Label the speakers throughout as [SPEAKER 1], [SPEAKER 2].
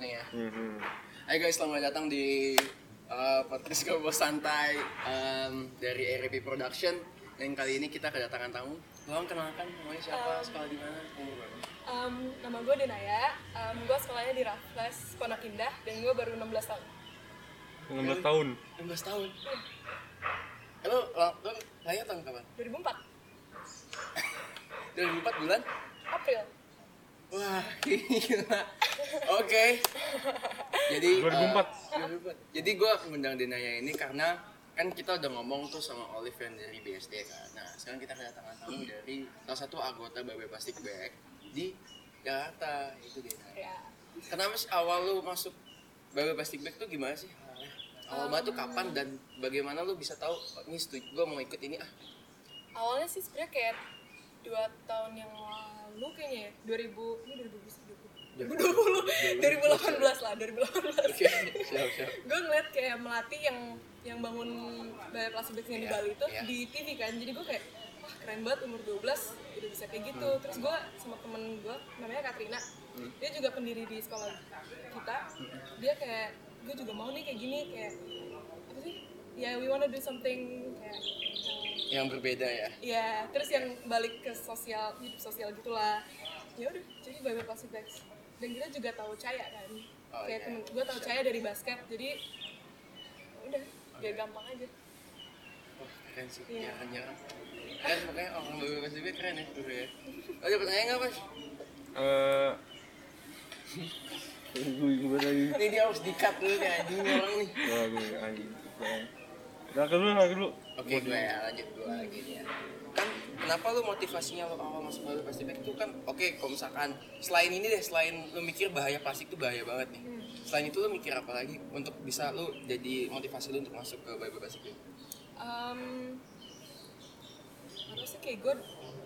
[SPEAKER 1] ya. Hai guys, selamat datang di uh, podcast Gobo Santai um, dari RP Production. Dan kali ini kita kedatangan tamu. Tolong kenalkan namanya siapa,
[SPEAKER 2] Um,
[SPEAKER 1] sekolah di mana, umur berapa?
[SPEAKER 2] Um, nama gue Denaya, um, gue sekolahnya di Raffles Pondok Indah dan gue baru 16 tahun.
[SPEAKER 3] 16 tahun
[SPEAKER 1] 16 tahun. Eh, Lo, lo, lo lahir tahun kapan?
[SPEAKER 2] 2004,
[SPEAKER 1] 2004 bulan?
[SPEAKER 2] April.
[SPEAKER 1] Wah, gila. Oke. Jadi
[SPEAKER 3] 2004.
[SPEAKER 1] eh, 2004. Jadi gua ngundang Denaya ini karena kan kita udah ngomong tuh sama Olive yang dari BSD kan. Nah, sekarang kita kedatangan tamu dari salah satu anggota Babe Plastic Bag di Jakarta itu Denaya.
[SPEAKER 2] Ya.
[SPEAKER 1] Kenapa sih awal lu masuk Babe Plastic Bag tuh gimana sih? Awal banget tuh kapan dan bagaimana lu bisa tahu oh, ini setuju gua mau ikut ini ah.
[SPEAKER 2] Awalnya sih sebenarnya kayak dua tahun yang lalu kayaknya ya, 2000, ini 2020, 2020, 2018 lah, 2018.
[SPEAKER 1] Oke, siap siap.
[SPEAKER 2] gue ngeliat kayak melati yang yang bangun balai plastik yang di
[SPEAKER 1] Iya,
[SPEAKER 2] Bali itu
[SPEAKER 1] iya.
[SPEAKER 2] di TV kan jadi gue kayak wah keren banget umur 12 udah bisa kayak gitu
[SPEAKER 1] Hmm.
[SPEAKER 2] terus gue sama temen gue namanya Katrina dia juga pendiri di sekolah kita
[SPEAKER 1] Hmm.
[SPEAKER 2] dia kayak gue juga mau nih kayak gini kayak apa sih ya we wanna do something kayak uh,
[SPEAKER 1] Yang
[SPEAKER 2] yang
[SPEAKER 1] berbeda ya.
[SPEAKER 2] ya terus yang balik ke sosial hidup sosial gitulah ya udah jadi banyak plastic bags dan kita juga tahu caya kan
[SPEAKER 1] Oh,
[SPEAKER 2] kayak
[SPEAKER 1] iya.
[SPEAKER 2] temen gue tahu caya dari basket jadi udah biar gampang aja
[SPEAKER 1] Wah, keren sih,
[SPEAKER 2] Iya.
[SPEAKER 1] jarang-jarang Keren, makanya orang baru Mas Bibi keren ya dulu ya Oh, ada pertanyaan nggak, Mas?
[SPEAKER 3] eh gue gue lagi
[SPEAKER 1] Ini dia harus di-cut dulu nih, anjing nih orang nih
[SPEAKER 3] Wah, gue anjing Nah, dulu, nah, dulu.
[SPEAKER 1] Oke, gue ya, lanjut gue lagi nih ya Kan, kenapa lu motivasinya lu awal masuk baru plastik bag itu kan Oke, kalau misalkan, selain ini deh, selain lu mikir bahaya plastik itu bahaya banget nih Selain itu lu mikir apa lagi untuk bisa lu jadi motivasi lu untuk masuk ke bayi plastik bag?
[SPEAKER 2] um, harusnya kayak gue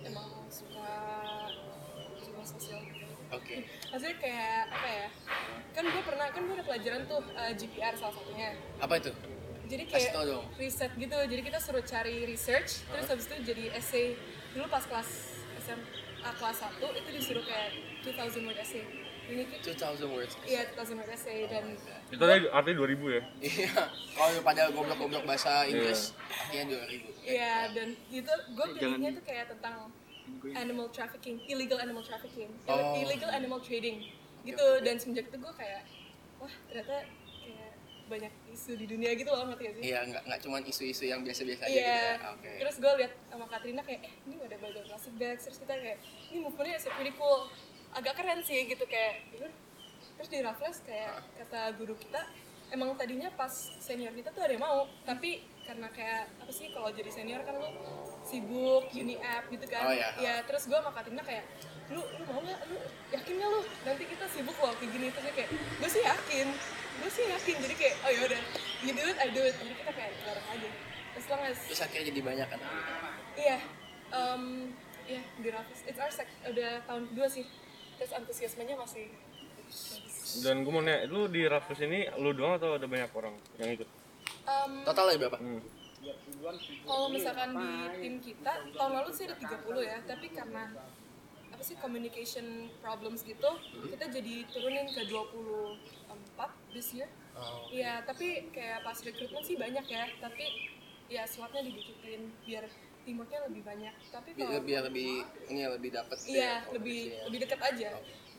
[SPEAKER 2] emang suka suka sosial
[SPEAKER 1] Oke,
[SPEAKER 2] maksudnya kayak apa ya kan gue pernah kan gue ada pelajaran tuh eh, GPR salah satunya
[SPEAKER 1] apa itu?
[SPEAKER 2] jadi
[SPEAKER 1] Kasih
[SPEAKER 2] kayak
[SPEAKER 1] tau dong.
[SPEAKER 2] riset gitu jadi kita suruh cari research terus habis itu jadi essay dulu pas kelas SMA kelas 1 itu disuruh kayak 2000 word essay ini tuh
[SPEAKER 1] 2000 words
[SPEAKER 2] iya 2000 word
[SPEAKER 1] Oh,
[SPEAKER 2] essay dan
[SPEAKER 3] Itu tadi artinya 2000 ya.
[SPEAKER 1] Iya, kalau pada goblok-goblok bahasa Inggris, artinya 2000
[SPEAKER 2] iya dan itu gue pilihnya tuh kayak tentang animal trafficking illegal animal trafficking
[SPEAKER 1] Oh.
[SPEAKER 2] illegal animal trading gitu dan semenjak itu gue kayak wah ternyata kayak banyak isu di dunia gitu loh ngerti gak sih
[SPEAKER 1] Iya, nggak nggak cuma isu-isu yang biasa-biasa aja gitu.
[SPEAKER 2] Iya.
[SPEAKER 1] ya. Oke.
[SPEAKER 2] Terus gue liat sama Katrina kayak eh ini ada baju plastic bag terus kita kayak ini movementnya is pretty cool. Agak keren sih gitu kayak gitu. Terus di Raffles kayak kata guru kita emang tadinya pas senior kita tuh ada yang mau tapi karena kayak apa sih kalau jadi senior kan lu sibuk uni app gitu kan
[SPEAKER 1] Oh, iya.
[SPEAKER 2] ya terus gue sama Katrina kayak lu lu mau nggak lu yakin nggak lu nanti kita sibuk loh kayak gini terus dia kayak gue sih yakin gue sih yakin jadi kayak oh yaudah you do it I do it jadi kita kayak bareng aja as long as
[SPEAKER 1] Terus akhirnya jadi banyak kan.
[SPEAKER 2] Iya, em ya di Raffles. It's our sec udah tahun kedua sih. Terus antusiasmenya masih
[SPEAKER 3] Dan gue mau nanya, lu di Raffles ini lu doang atau ada banyak orang yang ikut?
[SPEAKER 2] Em,
[SPEAKER 1] Total ada berapa?
[SPEAKER 3] Hmm.
[SPEAKER 2] kalau misalkan di tim kita tahun lalu sih ada 30 ya, tapi karena apa sih communication problems gitu, kita jadi turunin ke 24 this year.
[SPEAKER 1] Oh.
[SPEAKER 2] Iya, tapi kayak pas rekrutmen sih banyak ya, tapi ya slotnya dibikin biar timurnya lebih banyak. Tapi
[SPEAKER 1] Biar,
[SPEAKER 2] kalau
[SPEAKER 1] biar Iya, lebih ini ya, lebih dapat.
[SPEAKER 2] Iya, lebih
[SPEAKER 1] ya.
[SPEAKER 2] lebih dekat aja.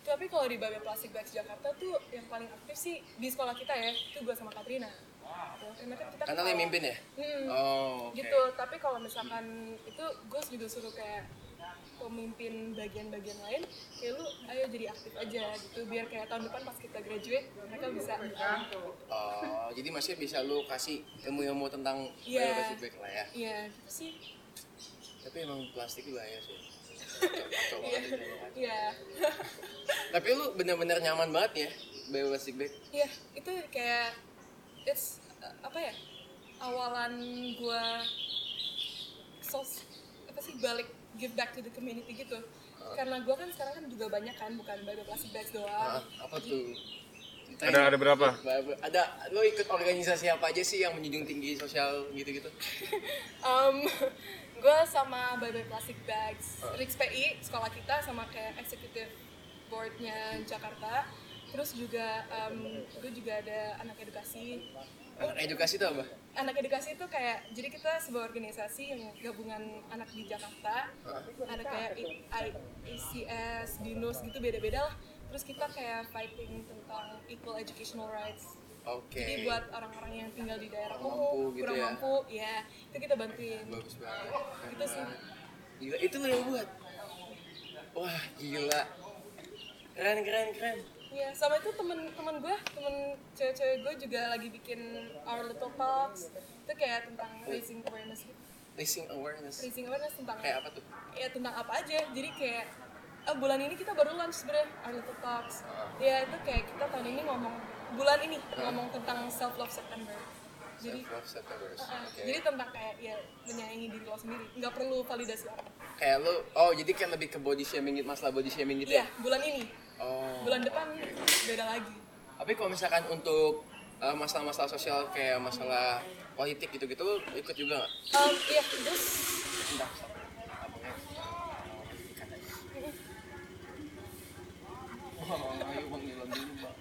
[SPEAKER 2] Tapi kalau di Babe Plastic Bags Jakarta tuh yang paling aktif sih di sekolah kita ya, itu gue sama Katrina. Gitu. Karena kan kita
[SPEAKER 1] Karena lo yang mimpin ya?
[SPEAKER 2] Hmm,
[SPEAKER 1] Oh, oke.
[SPEAKER 2] gitu. Tapi kalau misalkan itu gue juga suruh kayak pemimpin bagian-bagian lain, kayak lu ayo jadi aktif aja gitu, biar kayak tahun depan pas kita graduate mereka bisa.
[SPEAKER 1] Oh, jadi masih bisa lu kasih ilmu-ilmu tentang
[SPEAKER 2] Iya.
[SPEAKER 1] yeah. feedback lah ya.
[SPEAKER 2] Iya, gitu sih.
[SPEAKER 1] Tapi emang plastik itu bahaya sih. Kacau banget itu.
[SPEAKER 2] Iya.
[SPEAKER 1] Tapi lu bener-bener nyaman banget ya, bawa plastik bag.
[SPEAKER 2] Iya, itu kayak it's uh, apa ya? Awalan gua sos apa sih balik give back to the community gitu. Karena gua kan sekarang kan juga banyak kan bukan baru plastic bags
[SPEAKER 1] Ah,
[SPEAKER 2] doang.
[SPEAKER 1] apa tuh? Ceritain.
[SPEAKER 3] Ada ada berapa?
[SPEAKER 1] Ba- Ada lu ikut organisasi apa aja sih yang menjunjung tinggi sosial gitu-gitu?
[SPEAKER 2] Um, gua sama Bye Bye Plastic Bags, Rix PI, sekolah kita sama kayak executive boardnya Jakarta. terus juga em, gue juga ada anak edukasi
[SPEAKER 1] Anak edukasi itu apa?
[SPEAKER 2] anak edukasi itu kayak jadi kita sebuah organisasi yang gabungan anak di Jakarta ada kayak I- I- ICS, Dinos gitu beda-beda lah terus kita kayak fighting tentang equal educational rights
[SPEAKER 1] Oke.
[SPEAKER 2] jadi buat orang-orang yang tinggal di daerah
[SPEAKER 1] Kurang
[SPEAKER 2] kumuh
[SPEAKER 1] mampu gitu
[SPEAKER 2] kurang
[SPEAKER 1] ya.
[SPEAKER 2] mampu ya itu kita bantuin
[SPEAKER 1] Bagus banget.
[SPEAKER 2] Itu Gitu sih.
[SPEAKER 1] Gila, itu lo yang buat. Wah, gila. Keren, keren, keren.
[SPEAKER 2] Iya, sama itu temen-temen gue, temen cewek-cewek gue juga lagi bikin Our Little Talks Itu kayak tentang raising awareness gitu.
[SPEAKER 1] Raising awareness.
[SPEAKER 2] Raising awareness tentang
[SPEAKER 1] Kayak apa tuh?
[SPEAKER 2] ya tentang apa aja jadi kayak eh, bulan ini kita baru launch sebenarnya Our Little Talks ya itu kayak kita tahun ini ngomong bulan ini ngomong tentang self love September jadi
[SPEAKER 1] Self-love September.
[SPEAKER 2] uh-uh,
[SPEAKER 1] Oke.
[SPEAKER 2] jadi tentang kayak ya menyayangi diri lo sendiri nggak perlu validasi orang
[SPEAKER 1] Kayak lo, oh jadi kan lebih ke body shaming, gitu, masalah body shaming gitu ya?
[SPEAKER 2] iya bulan ini
[SPEAKER 1] Oh.
[SPEAKER 2] bulan depan beda lagi
[SPEAKER 1] Tapi kalau misalkan untuk uh, masalah-masalah sosial kayak masalah politik gitu-gitu lo ikut juga nggak?
[SPEAKER 2] um, iya terus
[SPEAKER 1] Enggak. Abangnya. Wah, ayo bang, jalan dulu bang.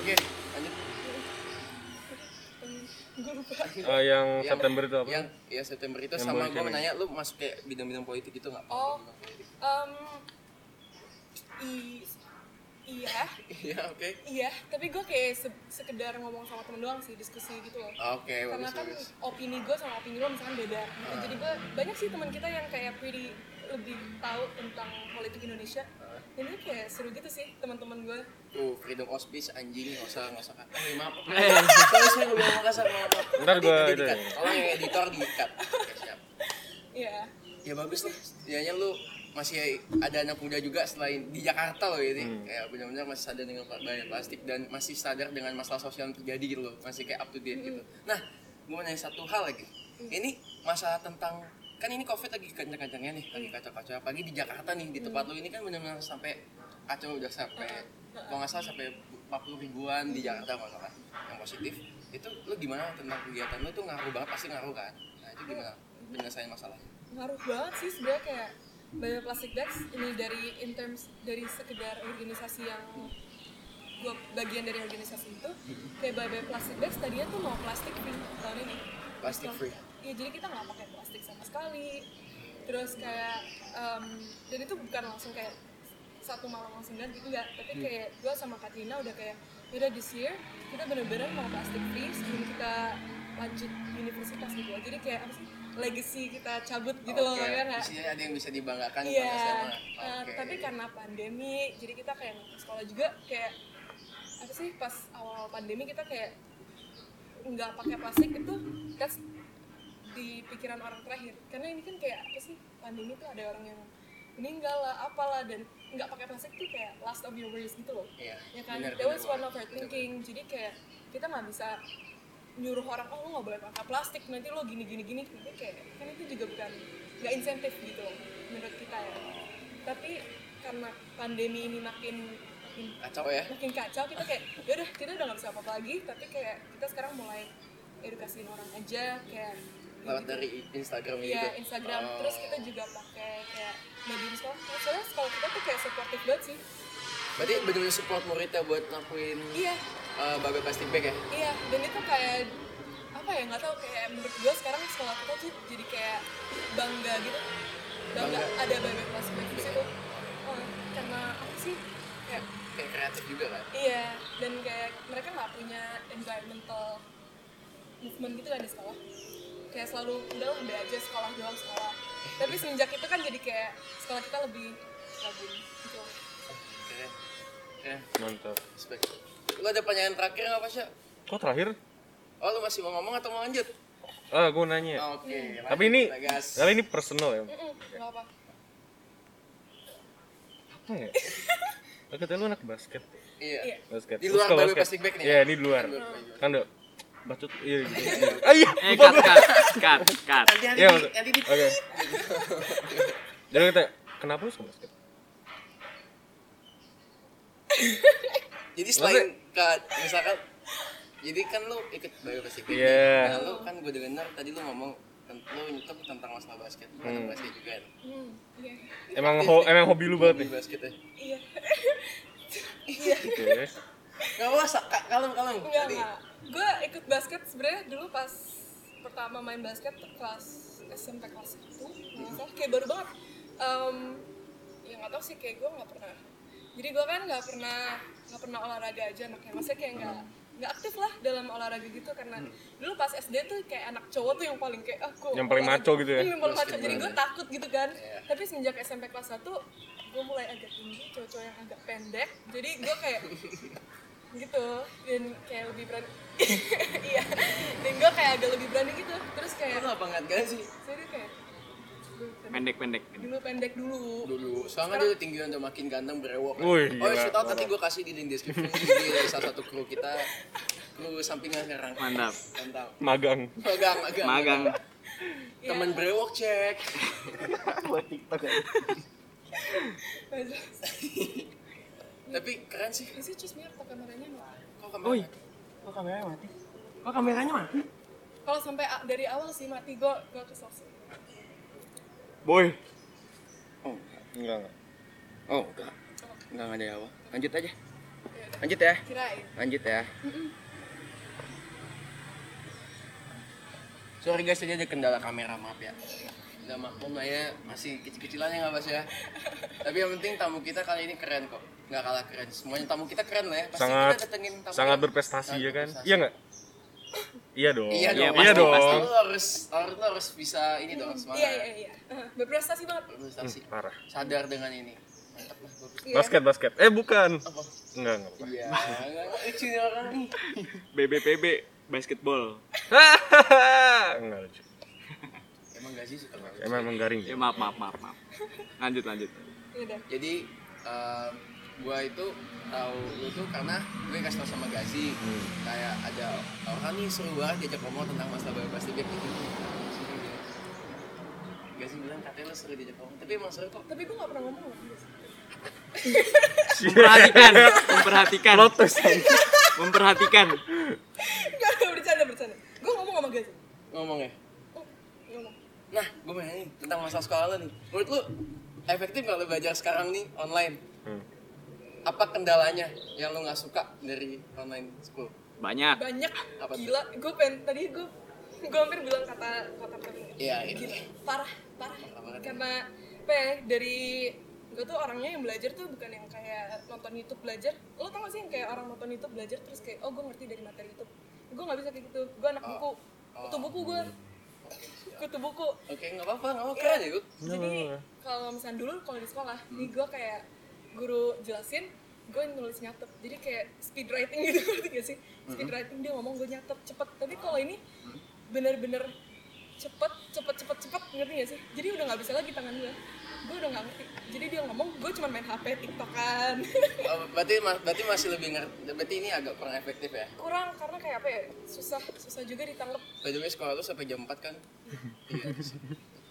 [SPEAKER 1] Oke, lanjut.
[SPEAKER 2] gue lupa
[SPEAKER 3] Eh, yang September itu apa?
[SPEAKER 1] Yang ya September itu
[SPEAKER 3] Yang
[SPEAKER 1] sama
[SPEAKER 3] boleh
[SPEAKER 1] gue
[SPEAKER 3] sharing.
[SPEAKER 1] nanya lu masuk kayak bidang-bidang politik itu nggak?
[SPEAKER 2] oh um, i iya
[SPEAKER 1] Iya, oke.
[SPEAKER 2] iya tapi gue kayak se- sekedar ngomong sama temen doang sih diskusi gitu loh
[SPEAKER 1] Oke,
[SPEAKER 2] karena
[SPEAKER 1] bagus
[SPEAKER 2] kan
[SPEAKER 1] bagus.
[SPEAKER 2] opini gue sama opini lo misalkan beda gitu. jadi gue banyak sih teman kita yang kayak pretty lebih tahu tentang politik Indonesia jadi kayak seru gitu sih teman-teman gue
[SPEAKER 1] Tuh, freedom hospice anjing nggak usah nggak usah kak. Eh, maaf. Sorry, sorry, gue bilang kasar maaf. maaf.
[SPEAKER 3] Ntar gua
[SPEAKER 1] Nanti
[SPEAKER 3] itu
[SPEAKER 1] di-cut.
[SPEAKER 3] ya.
[SPEAKER 1] Tolong yang editor diikat. Oke, siap.
[SPEAKER 2] ya
[SPEAKER 1] Ya bagus lah. Setidaknya lu masih ada anak muda juga selain di Jakarta loh ini kayak benar-benar masih sadar dengan bahaya plastik dan masih sadar dengan masalah sosial yang terjadi gitu loh masih kayak up to date gitu nah gue mau nanya satu hal lagi ini masalah tentang kan ini covid lagi kencang-kencangnya nih lagi kacau-kacau apalagi di Jakarta nih di tempat lu ini kan benar-benar sampai kacau udah sampai kalau nggak salah sampai 40 ribuan di Jakarta kalau nggak salah yang positif itu lu gimana tentang kegiatan lu tuh ngaruh banget pasti ngaruh kan nah itu gimana penyelesaian masalahnya
[SPEAKER 2] ngaruh banget sih sebenarnya kayak banyak plastic bags ini dari in terms dari sekedar organisasi yang gue bagian dari organisasi itu kayak banyak plastic bags tadinya tuh mau plastik free tahun ini
[SPEAKER 1] Plastic free.
[SPEAKER 2] Iya jadi kita nggak pakai plastik sama sekali terus kayak em, dan itu bukan langsung kayak satu malam langsung ganti enggak tapi
[SPEAKER 1] Hmm.
[SPEAKER 2] kayak gue sama Katrina udah kayak yaudah this year kita bener-bener mau plastic free sebelum kita lanjut universitas gitu loh. jadi kayak apa sih legacy kita cabut gitu loh
[SPEAKER 1] Oke,
[SPEAKER 2] ya nggak?
[SPEAKER 1] Isinya ada yang bisa dibanggakan
[SPEAKER 2] Iya.
[SPEAKER 1] pada SMA.
[SPEAKER 2] eh,
[SPEAKER 1] Oke.
[SPEAKER 2] tapi karena pandemi, jadi kita kayak sekolah juga kayak apa sih pas awal pandemi kita kayak nggak pakai plastik itu that's di pikiran orang terakhir karena ini kan kayak apa sih pandemi tuh ada orang yang meninggal lah apalah dan nggak pakai plastik tuh kayak last of your worries gitu loh
[SPEAKER 1] Iya,
[SPEAKER 2] ya kan
[SPEAKER 1] benar,
[SPEAKER 2] that was
[SPEAKER 1] benar
[SPEAKER 2] one of our thinking jadi kayak kita nggak bisa nyuruh orang oh lo nggak boleh pakai plastik nanti lo gini gini gini tapi kayak kan itu juga bukan nggak insentif gitu loh, menurut kita ya tapi karena pandemi ini makin makin,
[SPEAKER 1] kacau ya.
[SPEAKER 2] makin kacau kita kayak yaudah kita udah nggak bisa apa-apa lagi tapi kayak kita sekarang mulai edukasiin orang aja kayak
[SPEAKER 1] Lewat dari Instagram gitu.
[SPEAKER 2] Iya, Instagram.
[SPEAKER 1] Oh.
[SPEAKER 2] Terus kita juga pakai kayak medium sekolah. Soalnya sekolah kita tuh kayak supportive banget sih.
[SPEAKER 1] Berarti benar-benar support muridnya buat ngelakuin
[SPEAKER 2] Iya,
[SPEAKER 1] uh, babe plastik bag ya.
[SPEAKER 2] iya. Dan itu kayak apa ya nggak tahu kayak menurut gue sekarang sekolah kita tuh jadi kayak bangga gitu. Bangga,
[SPEAKER 1] Bangga.
[SPEAKER 2] ada banyak kelas di situ. Oh, karena apa sih? Kayak
[SPEAKER 1] Kayak kreatif juga kan.
[SPEAKER 2] iya. Dan kayak mereka nggak punya environmental movement gitu kan di sekolah. Kayak selalu udah lah, ambil aja sekolah doang sekolah. Tapi semenjak itu kan jadi kayak sekolah kita lebih rajin gitu.
[SPEAKER 1] Keren. Keren.
[SPEAKER 3] Mantap.
[SPEAKER 1] Respect. Lu ada pertanyaan terakhir nggak Pasha?
[SPEAKER 3] Kok terakhir?
[SPEAKER 1] Oh lu masih mau ngomong atau mau lanjut?
[SPEAKER 3] Ah, gue nanya.
[SPEAKER 1] Oke.
[SPEAKER 2] Iya.
[SPEAKER 3] Tapi ini,
[SPEAKER 1] Gas.
[SPEAKER 3] kali ini personal ya.
[SPEAKER 2] Mm-mm, nggak apa.
[SPEAKER 3] Apa ya? Lo katanya lu anak basket.
[SPEAKER 1] Iya.
[SPEAKER 2] Iya.
[SPEAKER 3] Basket.
[SPEAKER 1] Di
[SPEAKER 3] Lu
[SPEAKER 1] luar
[SPEAKER 3] suka
[SPEAKER 1] babe
[SPEAKER 3] basket.
[SPEAKER 1] plastik bag nih
[SPEAKER 3] Iya,
[SPEAKER 1] ya?
[SPEAKER 3] ini di luar.
[SPEAKER 1] Di luar babe.
[SPEAKER 3] Kan udah bacot iya gitu. Ah, iya,
[SPEAKER 4] Eh,
[SPEAKER 3] lupa
[SPEAKER 4] cut,
[SPEAKER 3] gua.
[SPEAKER 4] cut, cut, cut.
[SPEAKER 1] Nanti nanti
[SPEAKER 3] Iya,
[SPEAKER 1] di,
[SPEAKER 3] maksud-
[SPEAKER 1] nanti di.
[SPEAKER 3] Oke. Jadi kita kenapa lu suka basket?
[SPEAKER 1] jadi selain ke misalkan jadi kan lu ikut bioresikling
[SPEAKER 3] Iya.
[SPEAKER 1] nah lu kan gue dengar tadi lu ngomong ten- lu nyetop tentang masalah basket lu anak basket juga kan
[SPEAKER 2] Hmm, iya.
[SPEAKER 3] Emang Oh, ho- emang hobi lu banget
[SPEAKER 1] Hobi
[SPEAKER 3] nih.
[SPEAKER 1] basket ya
[SPEAKER 2] Iya.
[SPEAKER 3] Oke.
[SPEAKER 1] nggak apa-apa Kak. kalem kalem
[SPEAKER 2] Enggak,
[SPEAKER 1] tadi
[SPEAKER 2] enggak. Gue ikut basket sebenarnya dulu pas pertama main basket kelas SMP kelas 1 nggak salah, kayak baru banget. Em, ya nggak tau sih, kayak gue nggak pernah. Jadi gue kan nggak pernah nggak pernah olahraga aja anaknya. Maksudnya kayak nggak nggak aktif lah dalam olahraga gitu karena dulu pas SD tuh kayak anak cowok tuh yang paling kayak "Ah, aku
[SPEAKER 3] Hmm. Yang paling maco gitu ya?
[SPEAKER 2] Iya, yang paling maco jadi gue takut gitu kan
[SPEAKER 1] Iya.
[SPEAKER 2] tapi semenjak SMP kelas 1 gue mulai agak tinggi cowok-cowok yang agak pendek jadi gue kayak gitu dan kayak lebih berani iya dan gue kayak agak lebih berani gitu terus
[SPEAKER 1] lu
[SPEAKER 2] kayak
[SPEAKER 1] apa nggak kan sih
[SPEAKER 2] saya tuh kayak dulu pendek,
[SPEAKER 4] pendek pendek
[SPEAKER 2] dulu pendek dulu
[SPEAKER 1] dulu soalnya dia tinggian udah makin ganteng berewok
[SPEAKER 3] Wih,
[SPEAKER 1] oh
[SPEAKER 3] gila.
[SPEAKER 1] shout out nanti gue kasih di link description Jadi dari salah satu kru kita kru sampingan sekarang
[SPEAKER 4] mantap
[SPEAKER 1] tentang
[SPEAKER 3] Magang.
[SPEAKER 1] magang magang
[SPEAKER 4] magang
[SPEAKER 2] Iya.
[SPEAKER 1] temen brewok cek tapi keren sih
[SPEAKER 2] Ini sih cus mirip tuh kameranya nggak?
[SPEAKER 1] kok kamera
[SPEAKER 4] kok kameranya mati kok kameranya mati
[SPEAKER 2] kalau sampai a- dari awal sih mati gue gue kesel sih
[SPEAKER 3] Boy.
[SPEAKER 1] oh
[SPEAKER 3] Enggak, enggak.
[SPEAKER 1] oh enggak enggak ada ya awal lanjut aja lanjut ya
[SPEAKER 2] kirain
[SPEAKER 1] lanjut ya sorry guys tadi ada kendala kamera maaf ya udah maklum lah ya masih kecil-kecilan ya nggak bas ya tapi yang penting tamu kita kali ini keren kok nggak kalah keren semuanya tamu kita keren lah ya pasti
[SPEAKER 3] Sangat
[SPEAKER 1] kita datengin tamu
[SPEAKER 3] sangat
[SPEAKER 1] yang-
[SPEAKER 3] berprestasi
[SPEAKER 1] sangat
[SPEAKER 3] ya kan?
[SPEAKER 1] berprestasi.
[SPEAKER 3] Iya enggak? Iya dong.
[SPEAKER 1] iya dong
[SPEAKER 4] pasti,
[SPEAKER 3] dong.
[SPEAKER 1] pasti lu harus harus lu harus bisa ini dong semangat
[SPEAKER 2] iya iya iya berprestasi banget
[SPEAKER 1] berprestasi
[SPEAKER 3] Parah.
[SPEAKER 1] sadar dengan ini mantap lah bagus
[SPEAKER 2] Iya.
[SPEAKER 3] Basket, basket. Eh, bukan.
[SPEAKER 1] apa
[SPEAKER 3] Enggak, enggak apa-apa.
[SPEAKER 1] iya nggak lucu nih orang nih
[SPEAKER 4] BBPB basketball
[SPEAKER 3] enggak lucu.
[SPEAKER 1] emang gak sih suka banget
[SPEAKER 3] Emang emang garing.
[SPEAKER 4] ya maaf maaf maaf maaf lanjut lanjut
[SPEAKER 2] Iya dah.
[SPEAKER 1] jadi em, gua itu tahu lu tuh karena gue kasih tau sama Gazi kayak ada orang nih seru banget diajak ngomong tentang masalah bebas di gitu Gazi bilang katanya lu seru diajak ngomong tapi emang seru kok
[SPEAKER 2] tapi gue nggak pernah ngomong sama dia sih.
[SPEAKER 4] memperhatikan memperhatikan memperhatikan
[SPEAKER 2] Gak, gak bercanda, bercanda. Gue ngomong sama Gazi.
[SPEAKER 1] ngomongnya
[SPEAKER 2] Oh, ngomong.
[SPEAKER 1] nah gue mau nanya nih, tentang masalah sekolah lu nih menurut lu efektif kalau belajar sekarang nih online
[SPEAKER 3] Hmm.
[SPEAKER 1] apa kendalanya yang lu nggak suka dari online school
[SPEAKER 4] banyak
[SPEAKER 2] Banyak,
[SPEAKER 1] Apa tuh?
[SPEAKER 2] gila. Gue pengen, tadi gue gue hampir bilang kata kata penting.
[SPEAKER 1] Iya, itu.
[SPEAKER 2] Gila, parah, parah.
[SPEAKER 1] Parah banget.
[SPEAKER 2] Karena, apa ya, dari gue tuh orangnya yang belajar tuh bukan yang kayak nonton YouTube belajar. Lo tau gak sih yang kayak orang nonton YouTube belajar terus kayak, oh gue ngerti dari materi YouTube. Gue gak bisa kayak gitu. Gue anak
[SPEAKER 1] Oh.
[SPEAKER 2] buku. Kutu buku
[SPEAKER 1] iya,
[SPEAKER 2] gue. Kutu buku.
[SPEAKER 1] oke nggak apa-apa nggak apa-apa keren ya Gu.
[SPEAKER 2] jadi kalau misalnya dulu kalau di sekolah nih gue kayak guru jelasin gue nulis nyatet jadi kayak speed writing gitu ngerti gak sih speed writing dia ngomong gue nyatet cepet tapi kalau ini bener-bener cepet cepet cepet cepet ngerti gak sih jadi udah nggak bisa lagi tangan gue gue udah nggak ngerti jadi dia ngomong gue cuma main hp tiktokan
[SPEAKER 1] Oh, berarti ma- berarti masih lebih ngerti berarti ini agak kurang efektif ya
[SPEAKER 2] kurang karena kayak apa ya susah susah juga ditangkap
[SPEAKER 1] By the way sekolah lu sampai jam 4 kan? Iya.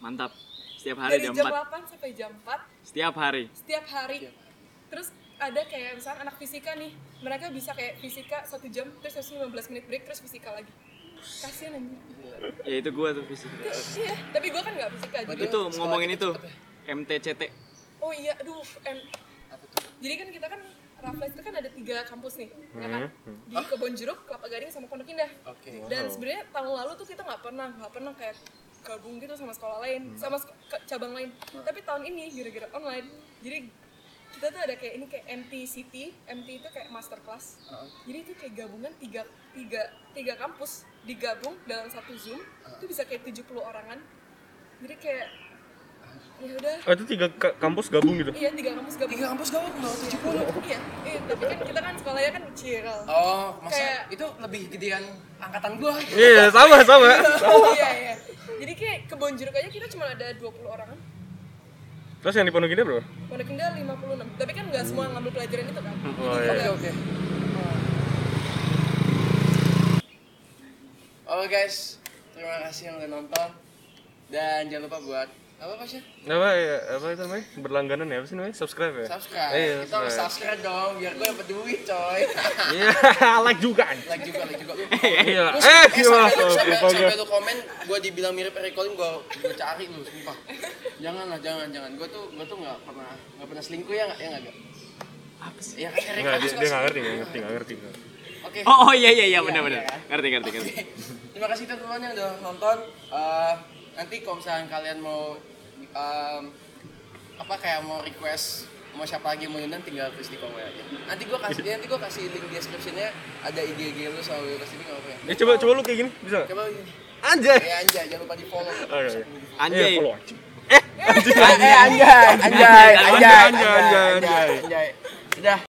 [SPEAKER 4] mantap setiap hari
[SPEAKER 2] dari
[SPEAKER 4] jam
[SPEAKER 2] jam
[SPEAKER 4] 4
[SPEAKER 2] 8 sampai jam 4
[SPEAKER 4] setiap hari
[SPEAKER 2] setiap hari terus ada kayak misalnya anak fisika nih mereka bisa kayak fisika satu jam terus harus 15 menit break terus fisika lagi kasian aja
[SPEAKER 4] ya itu gua tuh fisika
[SPEAKER 2] iya tapi gue kan nggak fisika jadi
[SPEAKER 4] itu ngomongin itu MTCT
[SPEAKER 2] oh iya aduh em jadi kan kita kan Raffles itu kan ada tiga kampus nih, ya kan? Di Kebon Jeruk, Kelapa Gading, sama Pondok Indah.
[SPEAKER 1] Oke.
[SPEAKER 2] Dan sebenarnya tahun lalu tuh kita nggak pernah, nggak pernah kayak gabung gitu sama sekolah
[SPEAKER 1] Hmm.
[SPEAKER 2] lain, sama sek- ke- cabang lain. Tapi tahun ini gara-gara online, jadi kita tuh ada kayak ini kayak MTCT, MT itu kayak master class.
[SPEAKER 1] Hmm.
[SPEAKER 2] Jadi itu kayak gabungan tiga, tiga, tiga kampus digabung dalam satu zoom, itu
[SPEAKER 1] Hmm.
[SPEAKER 2] bisa kayak 70 orangan. Jadi kayak ya udah
[SPEAKER 3] Oh, itu tiga ka- kampus gabung gitu.
[SPEAKER 2] iya tiga kampus gabung
[SPEAKER 1] Hmm. Tiga kampus gawat nol tujuh puluh.
[SPEAKER 2] Iya, iya, tapi kan kita kan sekolahnya kan Ciro.
[SPEAKER 1] Oh, masa
[SPEAKER 2] Kayak-
[SPEAKER 1] itu lebih gedean angkatan gua.
[SPEAKER 3] Iya, sama, sama.
[SPEAKER 2] iya, iya. Jadi kayak kebon jeruk aja kita cuma ada 20 orang.
[SPEAKER 3] Terus yang di Pondok Indah bro?
[SPEAKER 2] Pondok Indah 56. Tapi kan nggak semua ngambil pelajaran itu kan.
[SPEAKER 3] Oh,
[SPEAKER 1] Oke,
[SPEAKER 3] iya.
[SPEAKER 1] oke. Oh. Oke guys, terima kasih yang udah nonton dan jangan lupa buat Apa apa sih?
[SPEAKER 3] apa ya apa itu namanya berlangganan ya apa sih namanya subscribe ya
[SPEAKER 1] Subscribe.
[SPEAKER 3] iya
[SPEAKER 1] Kita harus
[SPEAKER 3] subscribe
[SPEAKER 1] subscribe dong biar gue dapet duit coy.
[SPEAKER 3] iya like juga anjing.
[SPEAKER 1] like juga, like juga. Lu-
[SPEAKER 4] Iya.
[SPEAKER 1] Lu-
[SPEAKER 3] Eh,
[SPEAKER 1] eh, sampai,
[SPEAKER 3] gimana? gitu.
[SPEAKER 1] lu, sampai,
[SPEAKER 3] Lupa
[SPEAKER 1] sampai
[SPEAKER 3] gua.
[SPEAKER 1] lu komen, gue dibilang mirip Eric Colin, gue gue cari lu, sumpah. Jangan lah, jangan, jangan. Gue tuh, gue tuh nggak pernah, nggak pernah selingkuh ya, nggak, ya nggak. Apa sih? Ya kan Eric
[SPEAKER 3] Enggak,
[SPEAKER 1] Colin
[SPEAKER 3] dia,
[SPEAKER 1] suka
[SPEAKER 3] dia nggak ngerti,
[SPEAKER 1] selingkuh.
[SPEAKER 3] nggak ngerti, nggak ngerti.
[SPEAKER 1] Oke.
[SPEAKER 4] Oh, oh iya iya iya benar
[SPEAKER 1] Iya,
[SPEAKER 4] benar.
[SPEAKER 1] iya.
[SPEAKER 4] Ngerti ngerti ngerti.
[SPEAKER 1] Terima kasih teman-teman yang udah nonton. Eh, nanti kalau misalnya kalian mau em, apa kayak mau request mau siapa lagi yang mau undang tinggal tulis di komen aja. Nanti gua kasih nanti gua kasih link descriptionnya ada IG IG lu sama Wilkas ini apa ya.
[SPEAKER 3] Eh coba coba lu kayak gini bisa nggak?
[SPEAKER 1] Coba
[SPEAKER 3] Anjay.
[SPEAKER 1] ya anjay jangan lupa di follow.
[SPEAKER 3] Oke. oke.
[SPEAKER 4] Anjay.
[SPEAKER 3] Eh, follow aja.
[SPEAKER 1] Eh anjay anjay
[SPEAKER 3] anjay, anjay, anjay.
[SPEAKER 1] anjay. Udah.